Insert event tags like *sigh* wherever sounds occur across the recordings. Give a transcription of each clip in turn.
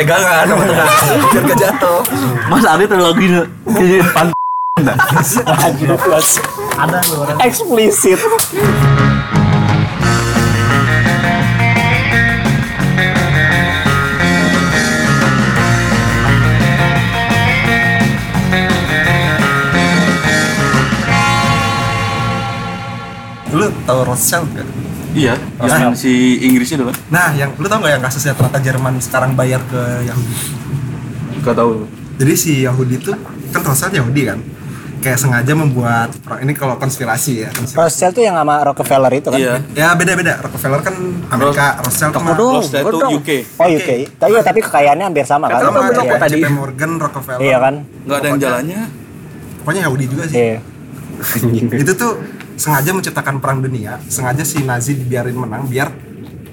pegangan sama tengah biar gak jatuh Mas Ari terlalu gini Kayaknya pan eksplisit lu tau Rothschild gak? Iya Yang si Inggrisnya itu kan nah yang lu tau gak yang kasusnya ternyata Jerman sekarang bayar ke Yahudi Gak tau jadi si Yahudi itu kan Rothschild Yahudi kan kayak sengaja membuat ini kalau konspirasi ya konspirasi. Rothschild tuh yang sama Rockefeller itu kan Iya ya beda-beda Rockefeller kan Amerika Rothschild Aku dong, Rothschild aku itu dong. UK. Oh UK. Tapi iya, tapi kekayaannya hampir sama kan. sama Iya. kayak JP Morgan Rockefeller Iya kan? Gak ada yang jalannya pokoknya Yahudi juga sih Iya. Iya. itu tuh sengaja menciptakan perang dunia sengaja si Nazi dibiarin menang biar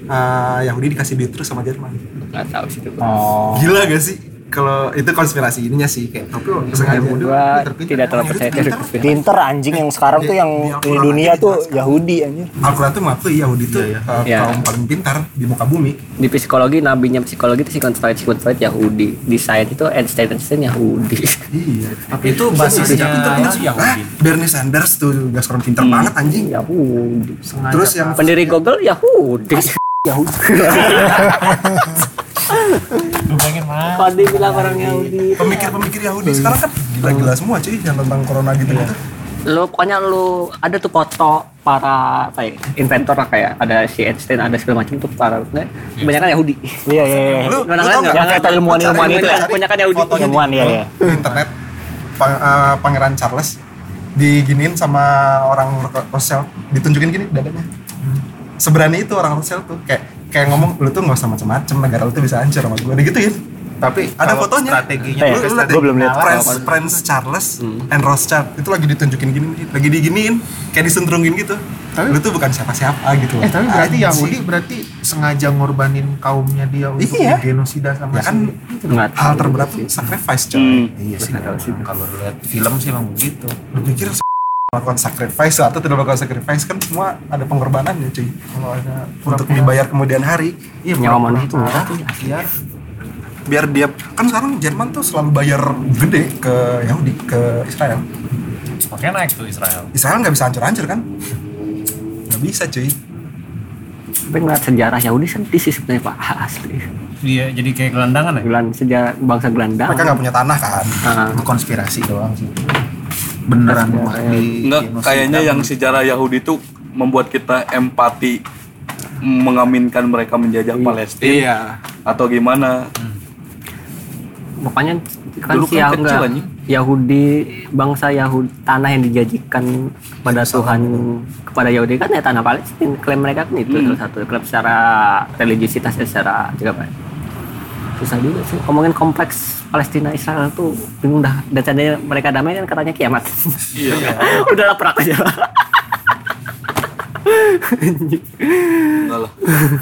eh, Yahudi dikasih duit terus sama Jerman Gak tahu sih itu. Oh. Gila gak sih? Kalau itu konspirasi ininya sih kayak tapi lo sengaja Iya, Gua bodoh. tidak terlalu percaya teori konspirasi. Pinter anjing yang sekarang tuh yang Di- di di Iya, Al-Quran dunia aja tuh dijelaskan. Yahudi anjir. Al-Quran tuh mengakui Yahudi tuh uh, Iya. kaum paling pintar di muka bumi. Di psikologi nabinya psikologi itu Sigmund Freud, Sigmund Freud Yahudi. Di sains itu Einstein, Einstein Yahudi. Iya. itu *laughs* basisnya Ah, Yahudi Bernie Sanders tuh juga seorang pintar banget anjing. Yahudi. Terus yang Ya Pendiri Google ya Yahudi. Yahudi. Fadi bilang orang Yahudi. pemikir-pemikir Yahudi sekarang kan gila-gila semua cuy yang tentang corona gitu gitu. Lu pokoknya lu ada tuh foto para apa ya, inventor lah kayak ada si Einstein ada segala macam tuh para nggak kebanyakan Yahudi. Iya iya iya. Lu- lu Kebanyakan tau nggak? nggak? Yang kata ilmuwan-ilmuwan itu ya. Kebanyakan Yahudi. Fotonya di- Ilmuwan, iya, iya. di internet Pang- eh, pangeran Charles diginin sama orang Rosel ditunjukin gini dadanya seberani itu orang Rosel tuh kayak kayak ngomong lu tuh nggak usah macem-macem negara lu tuh bisa hancur sama gue digituin tapi ada kalau fotonya strateginya Hmm. Eh, liat gua deh. belum liat. Prince, Prince Charles and Rothschild itu lagi ditunjukin gini nih, lagi diginiin kayak disentrungin gitu lu tuh bukan siapa-siapa gitu eh tapi berarti Anjing. Yahudi berarti sengaja ngorbanin kaumnya dia untuk Iya. digenosida sama ya kan si- Nggak hal tahu. terberat tuh sacrifice coy Hmm. iya sih memang. kalau lu lihat film sih emang begitu lu pikir s- melakukan sacrifice atau tidak melakukan sacrifice kan semua ada pengorbanannya cuy kalau ada untuk dibayar kemudian hari iya Nyawa pura-pura manusia itu parah, iya biar dia ya? kan sekarang Jerman tuh selalu bayar gede ke Yahudi ke Israel makanya naik tuh Israel Israel nggak bisa hancur-hancur kan nggak bisa cuy Nah. Tapi ngeliat sejarah Yahudi sedih sih sebenarnya Pak asli. dia Iya, jadi kayak gelandangan ya? Gelan sejarah bangsa gelandang. mereka nggak punya tanah kan Ah. itu konspirasi doang sih beneran mah di Enggak genosida. Kayaknya yang sejarah Yahudi itu Membuat kita empati Mengaminkan mereka menjajah Palestina Iya. Atau gimana Makanya kan Dulu si kan Yah- kecil, enggak, anjing. Yahudi bangsa Yahudi tanah yang dijanjikan kepada Tuhan kepada Yahudi kan ya tanah Palestina klaim mereka kan Hmm. itu salah satu klaim secara religiusitas secara juga apa ya? susah juga sih ngomongin kompleks Palestina Israel tuh bingung dah dan seandainya mereka damai kan katanya *laughs* kiamat Iya udahlah perang aja Enggak lah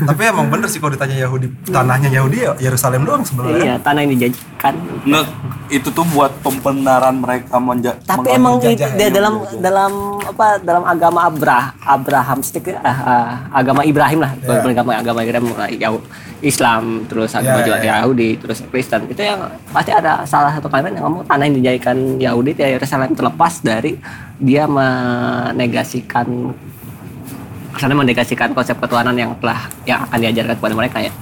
tapi emang bener sih kalau ditanya Yahudi tanahnya Yahudi ya Yerusalem doang sebenarnya iya tanah yang dijanjikan Nggak, itu tuh buat pembenaran mereka menja tapi meng- emang itu menjajah dia ya, dalam dalam apa dalam agama Abrah Abraham stick ah, ah, agama Ibrahim lah Ya. agama agama Ibrahim mulai Yahudi Islam terus agama Ya, ya, juga ya. Yahudi terus Kristen itu yang pasti ada salah satu kalimat yang ngomong tanah yang dijadikan Yahudi di Yerusalem terlepas dari dia menegasikan kesana menegasikan konsep ketuhanan yang telah yang akan diajarkan kepada mereka ya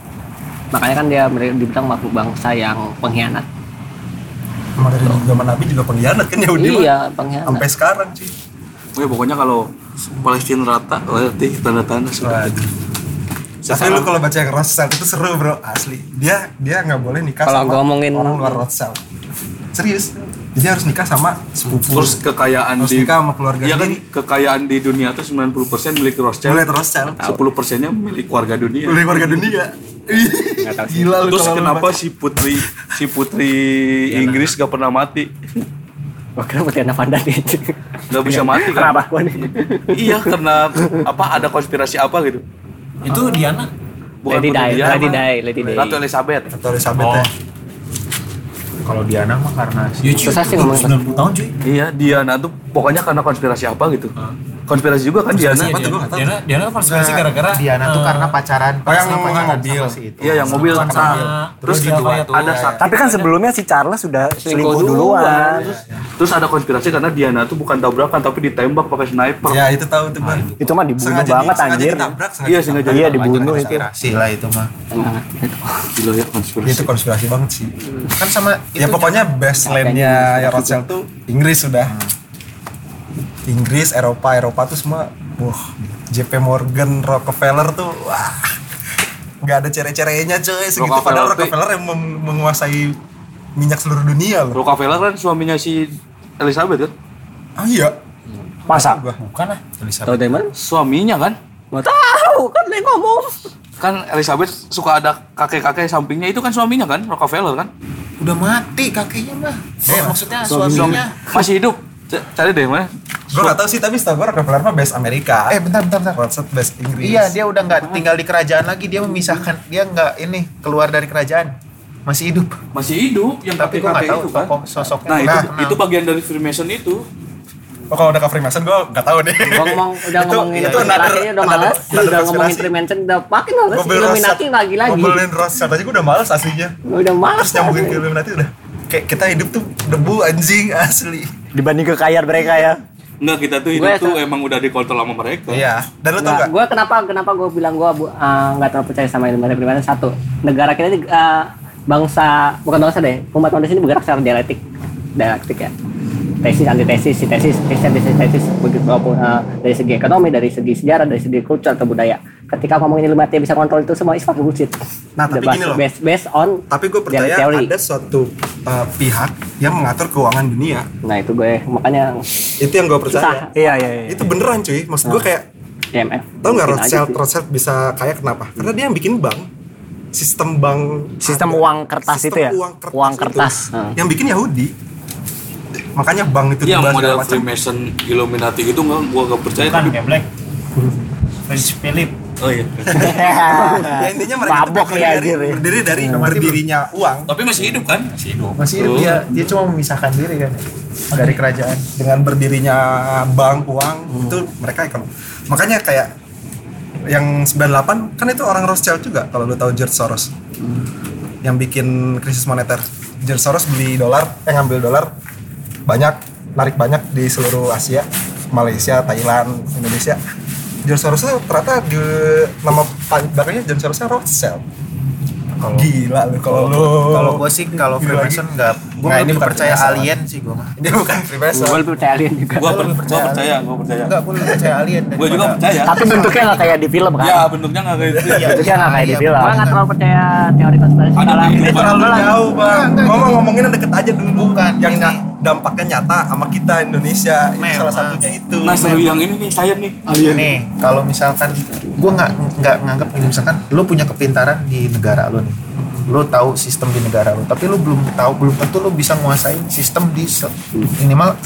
makanya kan dia mere- dibilang makhluk bangsa yang pengkhianat emang dari zaman Nabi juga pengkhianat kan Yahudi mah. iya pengkhianat sampai sekarang cuy Oke, pokoknya kalau Palestina rata berarti tanda-tanda sudah. Waduh. Tapi lu kalau baca yang Rothschild itu seru bro, asli. Dia dia nggak boleh nikah Kalau sama gua ngomongin- orang luar Rothschild. Serius. Jadi harus nikah sama sepupu. Terus kekayaan Harus di nikah sama keluarga Iya kan diri. kekayaan di dunia itu 90% milik Rothschild. Boleh Rothschild. 10%-nya milik warga dunia. Boleh keluarga dunia. Gila lu Terus kalau lu kenapa baca. si putri si putri Inggris gak pernah mati? Gua kira Putiana Pandani aja. *laughs* Gak bisa mati kan? Iya. Kenapa gua nih? iya, karena apa ada konspirasi apa gitu. itu Diana Lady putri Di, dia, Lady apa? Di, Lady Di. Ratu Elizabeth. Atau Elizabeth Oh. ya. kalau Diana mah karena si Susah sih ngomongin. tahun cuy Iya, dia nah tuh pokoknya karena konspirasi apa gitu. konspirasi juga kan Diana. Apa tuh gua nggak tahu. Diana, Diana konspirasi Nggak, gara-gara Diana tuh eh, karena pacaran. Oh, yang Krisna pacaran mobil. sama si itu. Iya yang mobil sama- nah, terus terus dia kedua, kayak tuh, ada ya. satu Tapi kan sebelumnya si Charles sudah selingkuh duluan. terus ada konspirasi karena Diana tuh bukan tabrakan tapi ditembak pakai sniper. Ya itu tahu tuh bang. Itu mah dibunuh Sengaja di- banget sengaja anjir. ditabrak, sengaja Iya sengaja. Iya ditembak. dibunuh itu. Konspirasi lah itu mah. Enggak, itu. Gila ya Ya, itu konspirasi. konspirasi banget sih. Kan sama ya pokoknya baseline-nya ya Rothschild tuh Inggris sudah. Hmm. Inggris, Eropa, Eropa tuh semua wah JP Morgan, Rockefeller tuh wah nggak ada cere-cerenya cuy segitu padahal Rockefeller tuh- Rockefeller yang mem- menguasai minyak seluruh dunia loh. Rockefeller kan suaminya si Elizabeth kan? Ah iya. Masa? Gua. bukan lah tulisan Tahu dari mana? Suaminya kan? Mau tahu kan dia ngomong. Kan Elizabeth suka ada kakek-kakek sampingnya itu kan suaminya kan Rockefeller kan? udah mati kakinya mah. Eh maksudnya Suami- suaminya. masih hidup. C- Cari deh mana? Gue gak tau sih tapi setahu gue Rockefeller mah base Amerika. Eh bentar bentar bentar. Rothschild base Inggris. Iya dia udah nggak tinggal di kerajaan lagi dia memisahkan dia nggak ini keluar dari kerajaan masih hidup Masih hidup yang tapi gue nggak kakek-kakek tahu itu kan? tokoh sosoknya. Nah, itu Nah, itu bagian dari Freemason itu. Oh kalau udah ke Freemason gue gak tau deh. Gua ngomong udah *laughs* Itu- ngomongin itu another- laki-lakinya udah another- malas, another udah ngomongin konspirasi. Freemason udah makin malas, Mobil Illuminati Rothschild- lagi-lagi. Mobilin Rothschild aja gue udah males aslinya. Udah malas. Terus nyambungin ke Illuminati udah. Kayak kita hidup tuh debu anjing *laughs* asli. Dibanding kekayaan mereka ya. Enggak, kita tuh hidup Gue- tuh emang udah dikontrol sama mereka. Iya. Dan lu tau Nggak, gak? gue kenapa kenapa gue bilang gue nggak terlalu percaya sama Illuminati Illuminati satu negara kita ini eh, bangsa bukan bangsa deh umat manusia ini bergerak secara dialektik dialektik ya tesis antitesis sintesis tesis antitesis tesis begitu apapun, eh, dari segi ekonomi dari segi sejarah dari segi kultur atau budaya ketika ngomongin Illuminati bisa kontrol itu semua is fucking bullshit Nah, tapi The bas- gini loh. based, based on Tapi Ya, gue percaya theory. ada suatu uh, pihak yang mengatur keuangan dunia. nah itu gue makanya Itu yang gue susah percaya. Iya iya iya. *laughs* Itu beneran cuy. Maksud Nah, gue kayak IMF tau nggak Mungkin aja Rothschild, sih. Rothschild bisa kaya kenapa? Karena dia yang bikin bank, sistem bank, Sistem ada. uang kertas Sistem itu ya? uang kertas, Uang itu. kertas. Hmm. yang bikin Yahudi. Makanya bank itu dibahas Yang Iya, model segala macam. Freemason Illuminati gitu enggak gua enggak percaya Kan, bukan tapi kayak Black Prince Philip Oh iya. Ya, intinya mereka tuh Mabok ya, berdiri, anjir, ya. berdiri dari berdirinya uang tapi masih hidup kan? masih hidup masih hidup iya. dia dia cuma memisahkan diri kan dari kerajaan dengan berdirinya bank uang Hmm. itu mereka ekonomi. Makanya kayak yang 98 kan itu orang Rothschild juga kalau lu tahu George Soros. Hmm. Yang bikin krisis moneter. George Soros beli dolar, eh ngambil dolar banyak, narik banyak di seluruh Asia, Malaysia, Thailand, Indonesia. George Soros itu ternyata di, nama pa- belakangnya George Sorosnya Rothschild. Oh. Kalau- Gila lu kalau lu kalau gue sih kalau Gila Freemason lagi. nggak Gua nggak ini lebih percaya percaya sama- alien sih gue mah dia bukan Freemason. gue lebih percaya alien juga Gua, per- gua percaya, gua percaya. nggak gue lebih percaya alien Gua juga daripada- percaya. Tapi bentuknya nggak kayak di film kan? Iya. Ya, bentuknya enggak kayak itu. Iya, Bentuknya nggak kayak di iya, film. gue nggak terlalu percaya teori konspirasi Ada dalam ini terlalu jauh bang ngomong ngomonginnya deket aja dulu Bukan, yang ini. na- dampaknya nyata sama kita Indonesia itu Memang. salah satunya itu Nah, seru yang ini nih, sayap nih. nih kalau misalkan gue nggak nggak nganggap ini misalkan lu punya kepintaran di negara lu nih lu tahu sistem di negara lu tapi lu belum tahu belum tentu lu bisa nguasain sistem di se- minimal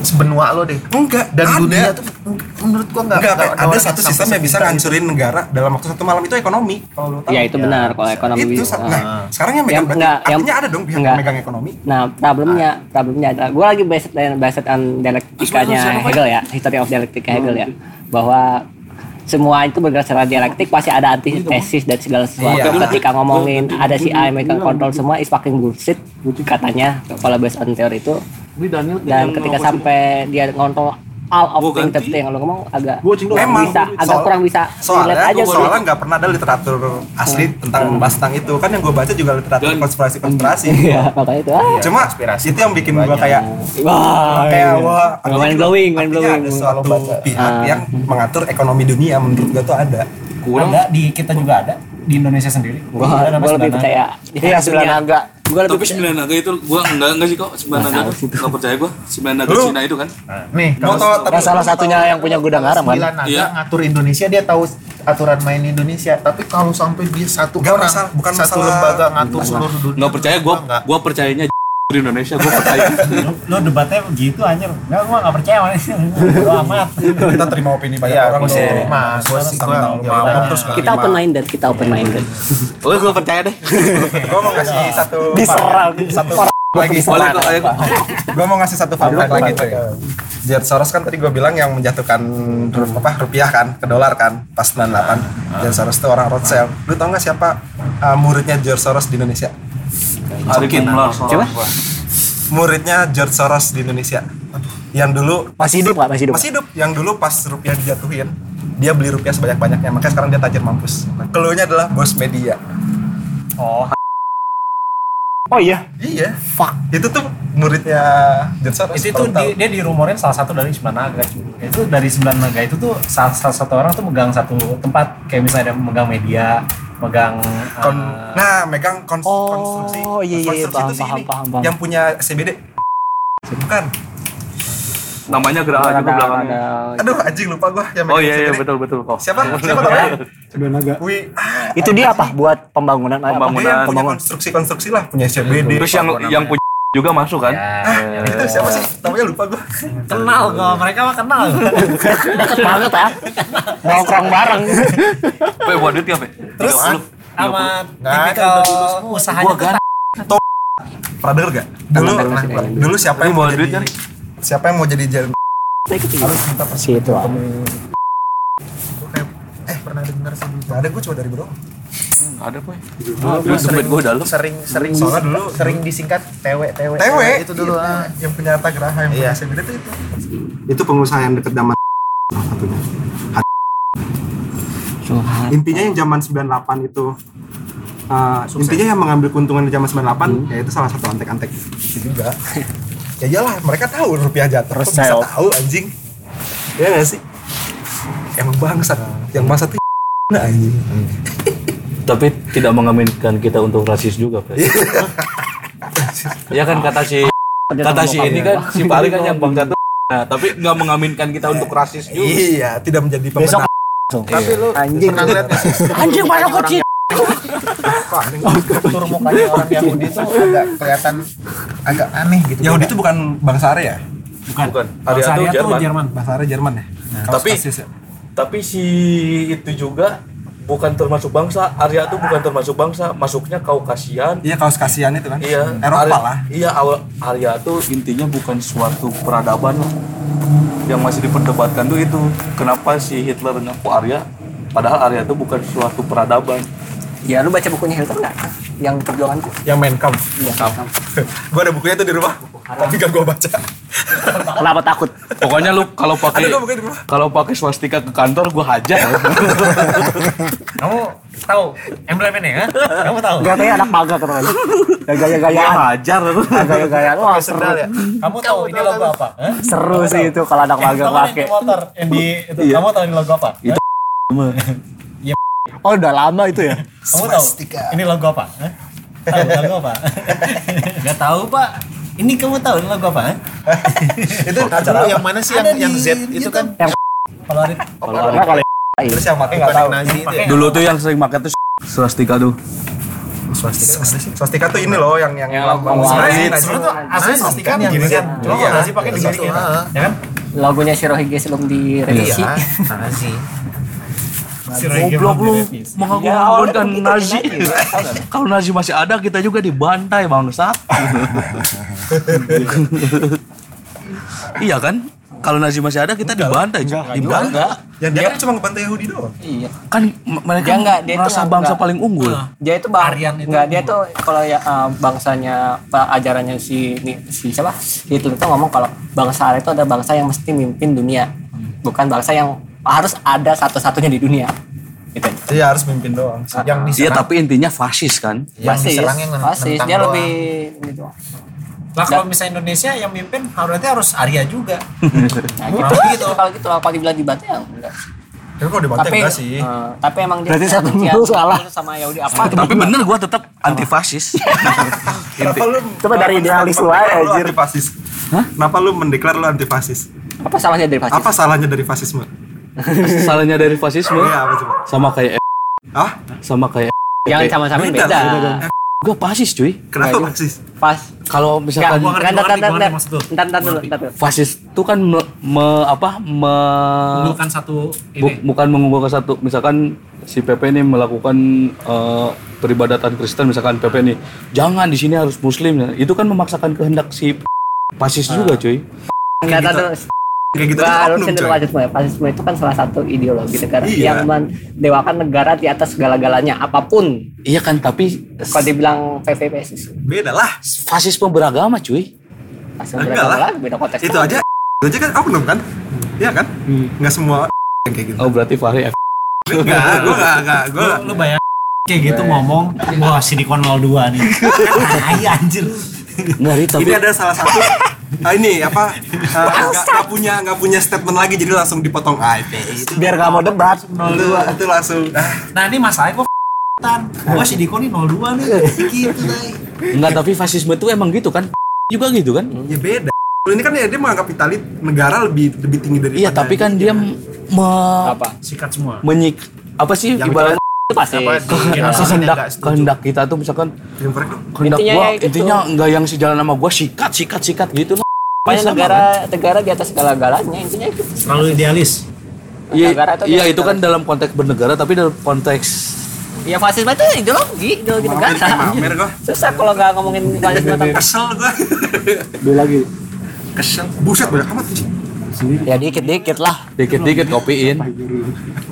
sebenua lo deh enggak dan ada. dunia tuh menurut gua nggak enggak nggak ada, orang satu yang sistem sampai yang bisa gitu. seperti itu. ngancurin negara dalam waktu satu malam itu ekonomi kalau lu tahu Iya, ya Iya. itu benar kalau ekonomi itu bisa. sa- Ah. nah, sekarang yang megang Yang- enggak, berarti yang- artinya ada dong pihak enggak. yang megang ekonomi Nah, problemnya, problemnya adalah gue lagi based dan based on dialektikanya Hegel ya, history of dialektika Hegel ya, Hmm. bahwa semua itu bergerak secara dialektik pasti ada antitesis dan segala sesuatu. Iya. Ketika ngomongin ada si A yang megang kontrol semua is fucking bullshit katanya kalau based on teori itu Ini Daniel dan ketika sampai dia ngontrol all of Gua things ganti. tapi yang lo ngomong agak Gua cing doang. kurang Emang, bisa agak soal- kurang bisa relate soalnya aja Hmm. tuh, gua. soalnya nggak pernah ada literatur asli tentang membahas tentang itu kan yang gue baca juga literatur Dan- konspirasi konspirasi *laughs* Iya, makanya itu. ah. cuma konspirasi itu yang bikin gue banyak. kayak Wah, kayak wah Nggak artinya- mind blowing, mind artinya blowing. ada suatu Kalau baca. pihak Ah. yang mengatur ekonomi dunia menurut gua tuh ada kurang ada di kita juga ada di Indonesia sendiri Gua, Ada nama gua lebih Sundana. percaya. Iya sembilan naga. Gua lebih tapi sembilan naga itu gua enggak enggak sih kok sembilan naga tahu tuh enggak percaya gua sembilan naga Lu- Cina itu kan nih Mau kalau tau- tapi- Yang salah satunya yang punya gudang haram kan? Sembilan naga Iya. ngatur Indonesia dia tahu aturan main Indonesia tapi kalau sampai dia satu Nggak orang masalah, bukan satu masalah- lembaga ngatur seluruh dunia enggak percaya gua nggak gua percayanya di Indonesia gua percaya lu, *laughs* lu debatnya begitu anjir nggak gua nggak percaya man. *laughs* lu amat kita terima opini banyak Iya, orang gua sih dong. terima. Gua Tentang sih gua- tentang ya ngomong udah. terus nggak kita terima. open minded, kita open minded. oh gua percaya deh gua mau kasih satu Diserang. satu lagi Boleh kok, ayo kok. gue mau ngasih satu fun fact lagi cuy Jared Soros kan tadi gue bilang yang menjatuhkan ru- apa rupiah kan ke dolar kan pas 98 Jared Soros itu orang Rothschild lu tau gak siapa uh, muridnya George Soros di Indonesia Arifin Mular. Coba. muridnya George Soros di Indonesia yang dulu Masih hidup nggak? Masih hidup. masih hidup yang dulu pas rupiah dijatuhin dia beli rupiah sebanyak-banyaknya makanya sekarang dia tajir mampus Nah, keluarnya adalah bos media Oh iya. iya Fuck. itu tuh muridnya George Soros itu tuh kalau tahu. di- dia dirumorin salah satu dari sembilan naga cuy. itu dari sembilan naga itu tuh salah, salah satu orang tuh megang satu tempat kayak misalnya ada yang megang media megang Kon- eh, Ah. nah megang kons- Oh, konstruksi iya, iya, konstruksi paham, itu si paham, ini, paham, paham. yang punya CBD bukan Namanya Geraha juga belakangnya. aduh anjing lupa gua yang Oh megang iya iya CBD. betul Iya, betul kok. siapa siapa namanya Dua naga. Wi ah, Itu dia apa? Buat pembangunan apa? dia yang Pembangunan. punya Pembangun. konstruksi konstruksi lah punya CBD Terus yang Iya, yang punya juga masuk kan? ah, itu siapa sih namanya lupa gua kenal kok mereka mah kenal Deket banget ya. Nongkrong bareng. Pe buat duit nggak pe? terus Tiga puluh. sama Nggak ada, tipikal udah lulus semua. usahanya tuh pernah denger gak dulu Pernah, pernah, pernah. dulu siapa yang Lu mau kan? bawa duit jadi nyari? siapa yang mau jadi jalan Si itu. ah. Gua kayak, eh pernah denger sih Gak ada gua coba dari bro Hmm, Ada pe. Duit dompet gue dalam. sering sering Soalnya dulu sering disingkat tewe tewe TW itu dulu Iya, ah. yang punya harta geraha yang Iya. punya CBD itu itu itu pengusaha yang deket sama salah satunya intinya yang zaman 98 itu uh, intinya yang mengambil keuntungan di zaman 98 ya itu salah satu antek-antek itu juga *laughs* ya iyalah mereka tahu rupiah jatuh Kok bisa Resell. tahu anjing ya nggak sih emang bangsat yang bangsat itu nah, *laughs* anjing Tapi tidak mengaminkan kita untuk rasis juga pe. Ya kan kata si kata si ini kan si Pari *laughs* kan yang bangga tuh. Nah, tapi nggak mengaminkan kita untuk rasis juga. iya tidak menjadi pembenar tapi Iya. lu Anjing. pernah ngeliat nggak sih Anjing mana kecil. Kok aneh? struktur mukanya orang Yahudi itu agak kelihatan agak aneh gitu Yahudi itu bukan bangsa Arya ya? bukan Bukan. Kalau Arya Arya itu tuh Jerman. Jerman Bangsa Arya Jerman ya? Kaos Tapi- kasis ya? Tapi si itu juga bukan termasuk bangsa. Arya itu bukan termasuk bangsa. Masuknya Kaukasian. Iya kaos kasihan itu kan? Iya. Eropa Arya- lah. Iya, awal Arya itu intinya bukan suatu peradaban lah. Yang masih diperdebatkan tuh itu kenapa si Hitler ngaku Arya padahal Arya itu bukan suatu peradaban. Ya lu baca bukunya Hilton nggak? Yang perjuanganku. Yang main Kampf. *laughs* gue ada bukunya tuh di rumah, tapi gak gue baca. Kenapa takut? Pokoknya lu kalau pakai Ada gua pakai di rumah. kalau pakai swastika ke kantor gua hajar. *laughs* kamu tahu emblemnya ya kamu tahu Gaya anak paga katanya. gua Iya, Gaya-gayaan. hajar. Gaya-gayaan. Wah, seru. sendal ya kamu tahu ini logo apa Hah? Seru sih itu kalau anak Eh, paga kamu yang Iya, pakai. di motor yang di itu kamu tahu ini logo apa eh? Hah? Oh, udah lama itu ya. kamu tahu Swastika. ini logo apa Hah? tahu logo *laughs* apa nggak tahu pak ini kamu tahu ini logo apa Hah? *laughs* itu dulu yang mana sih yang Ada yang di Z itu kan kalau ada Karena kalau terus yang mati nggak bukan tahu. yang Nazi itu ya Dulu tuh yang sering pakai tuh swastika tuh. swastika mana sih Swastika tuh ini loh yang yang, lambang Sebenarnya Nazi. sebenarnya tuh asli Nazi swastika kan yang yang gini Z. kan. Cuma Iya, kalau Nazi pakai iya, digini iya. kan. ah. Ya kan? logonya Shirohige sebelum direvisi. iya Nazi Iya, Goblok lu ya, mengaku kan Nazi. *laughs* Kalau Nazi masih ada kita juga dibantai bangsa. *laughs* iya kan? Kalau Nazi masih ada kita dibantai, dibantai. Yang dia kan cuma ngebantai Yahudi doang. Iya. Kan m- mereka Dia enggak, dia itu merasa enggak- bangsa enggak. paling unggul. Dia itu bang, Aryan itu enggak dia tuh kalau ya eh, bangsanya apa, ajarannya si ini- si siapa? Hitler itu ngomong kalau bangsa Arya itu ada bangsa yang mesti mimpin dunia. Bukan bangsa yang harus ada satu-satunya di dunia. Gitu. Iya harus mimpin doang. yang Iya, diserang tapi intinya fasis kan? yang Fasis, diserang yang nentang fasis. dia doang. lebih gitu. Lah kalau misalnya Indonesia yang mimpin harusnya harus Arya juga. Nah, gitu. Kurang gitu. Kalau gitu kalau pagi bilang dibantai ya enggak. Tapi kalau dibantai Tapi Oh, enggak sih. eh, tapi emang dia Berarti satu dia- mulu salah. sama Yahudi apa? Tapi bener gua tetap anti *laughs* fasis. Kenapa lu Coba dari idealis lu aja, Kenapa lu anjir. antifasis? Kenapa lu mendeklar lu antifasis? Apa salahnya dari fasis? Apa salahnya dari fasisme? Salahnya dari fasisme Iya apa coba? sama kayak F- Ah, sama kayak Jangan sama-sama beda. gue fasis cuy. kenapa Nggak, fasis? Pas. Kalau misalkan Gua ngerti, gua Enggak, enggak, ngerti, gua enggak, ngerti maksud lu. enggak. Entar, entar dulu, entar dulu. fasis itu kan me- me- apa me, Bukan kan satu Bu- ini. bukan mengumpulkan satu misalkan si PP ini melakukan eh, peribadatan Kristen misalkan PP nih jangan di sini harus Muslim ya. itu kan memaksakan kehendak si pasis juga cuy nggak tahu tuh, kayak gitu Wah, kan lu oknum, cenderung coy. fasisme. Fasisme itu kan salah satu ideologi negara Iya. yang mendewakan negara di atas segala-galanya apapun. iya kan tapi Kalau dibilang PVPS itu beda lah fasisme beragama cuy fasisme enggak beragama lah lagi, beda konteks. itu lagi. aja itu aja kan oknum kan iya kan nggak semua yang kayak gitu Hmm. oh berarti Fahri F nggak gue nggak nggak gue lu bayar kayak gitu ngomong wah silikon 02 nih tai anjir ngeri tapi ini ada salah satu ah, ini apa ah, nggak nggak punya nggak punya statement lagi jadi langsung dipotong ah itu biar gak mau debat itu, itu langsung ah, nah ini masalahnya kok tan gua silikon nih 02 nih gitu tai enggak tapi fasisme itu emang gitu kan juga gitu kan ya beda Lu ini kan ya dia menganggap Itali negara lebih lebih tinggi dari iya tapi kan dia me- Apa? sikat semua menyik apa sih Yang ibarat Itu pasti. Apa di generasi yang kehendak nggak setuju? kehendak kita tuh misalkan yang korek dong kehendak Intinya gua ya gitu. intinya enggak yang sejalan sama gua sikat sikat sikat gitu loh Pokoknya Sama, negara negara di atas segala-galanya intinya itu. terlalu idealis Iya, Negara itu iya kayak gitu. itu kan dalam konteks bernegara tapi dalam konteks Ya fasisme itu ideologi, ideologi Mamer, negara. kayak mamer gua. Susah kalau nggak ngomongin *laughs* fasisme tentang kesel gue dia lagi kesel buset banyak amat sih ya dikit-dikit lah. dikit-dikit kopiin.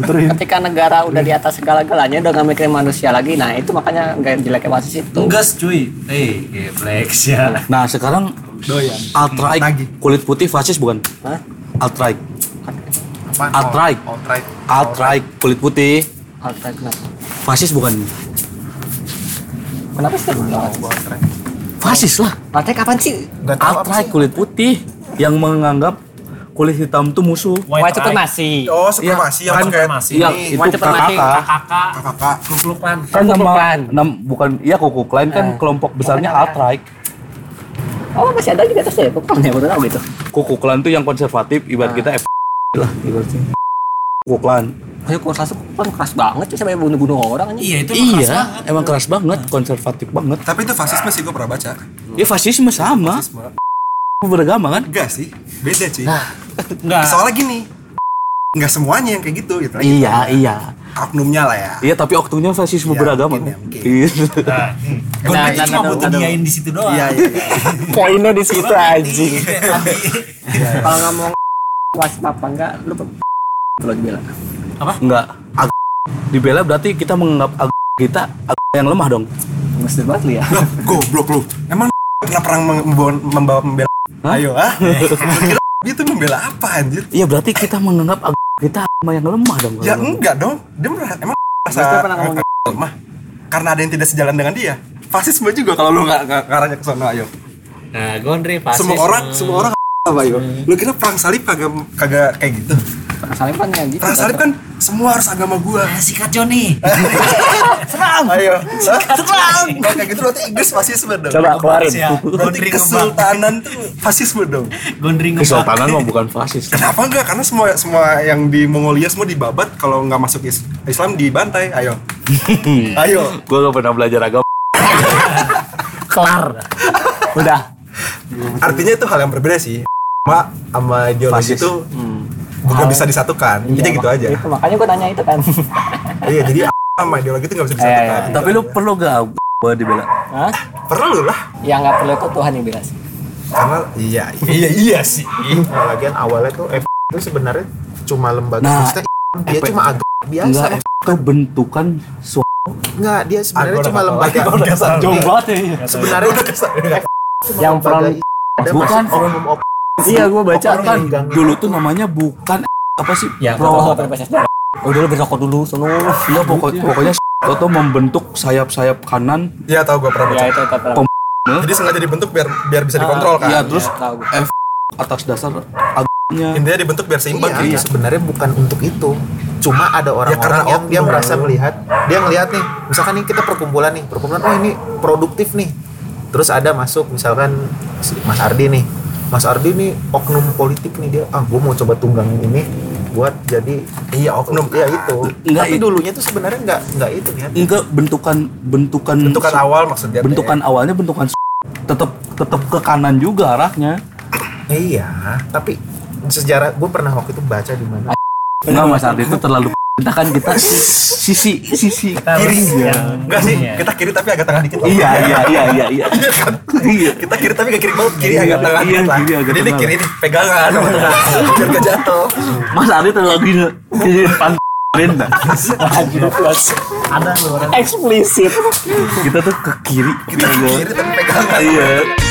puterin Ketika negara udah di atas segala-galanya udah nggak mikirin manusia lagi, nah itu makanya nggak jeleknya fasis itu. tugas cuy eh geblek ya Nah, sekarang doyan alt-right Nagih. kulit putih fasis bukan? Hah? Alt-right. Apaan? Alt-right. Alt-right. Alt-right kulit putih Alter, kenapa? fasis bukan? Kenapa sih? Alt-right. Fasis lah. Alter kapan sih? Nggak tahu apa Alt-right sih. kulit putih yang menganggap kulit hitam tuh musuh. White supremasi. oh supremasi yang kan pakai supremasi. Iya, ini. itu White supremacy. KKK. kakak kakak luklukan Kan Ku Klux nama Klan. Eh. nam- bukan iya kuku lain kan kelompok besarnya alt-right. Oh masih ada di atasnya ya? Kok ya baru tahu gitu. Kuku Klan tuh yang konservatif ibarat kita F lah ibaratnya. Kuku Klan. Kayak kurang satu kurang keras banget sih sampai bunuh-bunuh orang aja. iya itu emang keras banget. Iya, emang keras banget, konservatif banget. tapi itu fasisme sih gue pernah baca Ya fasisme sama, fasisme beragama kan? enggak sih beda sih Nah, enggak soalnya gini nggak semuanya yang kayak gitu gitu lagi Iya, iya. oknumnya lah ya Iya, tapi oktunya fasisme Iya, beragama. mungkin, kan? mungkin. Iya. Gua Nah, tadi nah, cuma nah, mau nah, tinggain di situ doang iya iya *laughs* iya. poinnya di situ aja Kalau ngomong wasit apa enggak, lu pe- kalau dibilang. Enggak. Ag- dibela berarti kita menganggap ag- kita ag- yang lemah dong. Mesti banget lu ya. Loh, goblok lu emang *laughs* pernah perang mem- membawa, membawa membela Hah? ayo ah dia tuh membela apa anjir Iya, berarti kita menganggap ag- kita agama yang lemah dong. ya enggak dong dia merasa emang Maksudnya merasa pernah ngomong mah karena ada yang tidak sejalan dengan dia fasisme juga kalau lu nggak nggak- ngarahnya ke sana ayo nah gondri pasti semua orang semua orang apa yo lu kira perang salib kagak kagak kayak gitu Perang salib kan ya gitu. perang salib kan semua harus agama gua sikat *laughs* Joni serang ayo Hah? serang Kalau kayak gitu berarti Inggris fasisme dong coba keluarin ya berarti gondri ngebak kesultanan tuh fasisme dong gondri ngebak Kesultanan mah bukan *laughs* fasis. Kenapa enggak? Karena semua semua yang di Mongolia semua dibabat kalau nggak masuk is- Islam dibantai. Ayo. Ayo. Gue gak pernah belajar agama. kelar udah Artinya itu hal yang berbeda sih. Ma sama ideologi Fasis. itu Hmm. Oh. Iya, bukan bisa disatukan. Intinya gitu aja. Itu Iya, makanya gua tanya itu kan. Iya, jadi a- sama ideologi itu nggak bisa disatukan. Gitu Iya, Tapi lu aja. perlu gak gue dibela? Hah? perlu lah. Yang Ya, nggak perlu itu Tuhan yang bilang. Karena iya iya iya sih. Nah, lagian awalnya tuh F itu sebenarnya cuma lembaga Nah, maksudnya dia F- cuma agak biasa Enggak, F. itu bentukan suara. Enggak, dia sebenarnya cuma lembaga Iya, sebenarnya itu cuma Yang lembaga front- i- ada Bukan masih oknum oknum iya gue baca orang kan yang ganggu. dulu tuh namanya bukan apa sih iya. Ya, pro Kalau PPSS udah lu berokok dulu sono iya pokok, pokoknya Toto membentuk sayap-sayap kanan Iya tahu gua pernah baca. ya itu itu itu. Kom- Jadi sengaja dibentuk biar biar bisa dikontrol ya kan. terus Tahu gua. F atas dasar agaknya Intinya dibentuk biar seimbang Iya, gitu. Ya, itu sebenarnya bukan untuk itu. Cuma ada karena orang-orang yang dia oknum. merasa melihat, dia ngelihat nih, misalkan nih kita perkumpulan nih, perkumpulan oh ini produktif nih. Terus ada masuk misalkan si Mas Ardi nih. Mas Ardi nih oknum politik nih dia, ah gue mau coba tunggangin ini buat jadi Iya, oknum. ya itu. Enggak, Tapi itu- dulunya tuh sebenarnya enggak enggak itu ya. enggak bentukan bentukan Bentukan awal ya, maksudnya. teh. bentukan awalnya bentukan tetap tetap ke kanan juga arahnya Iya, tapi sejarah gue pernah waktu itu baca di mana enggak Mas Ardi itu terlalu Kita kan kita sisi sisi Iya, Kita harus Kiri. yang Enggak sih, ininya. kita kiri tapi agak tengah dikit. Om. Iya iya iya iya iya. Iya kan? Kita kiri tapi gak kiri banget, kiri agak tengah iya, dikit lah. kiri agak Jadi ini tengah. kiri ini *laughs* pegangan sama tengah. Biar gak jatuh. Mas Ari terlalu gini di depan Renda. ada loh orang Eksplisit. Kita tuh ke kiri. Kita kiri tapi pegangan. Iya.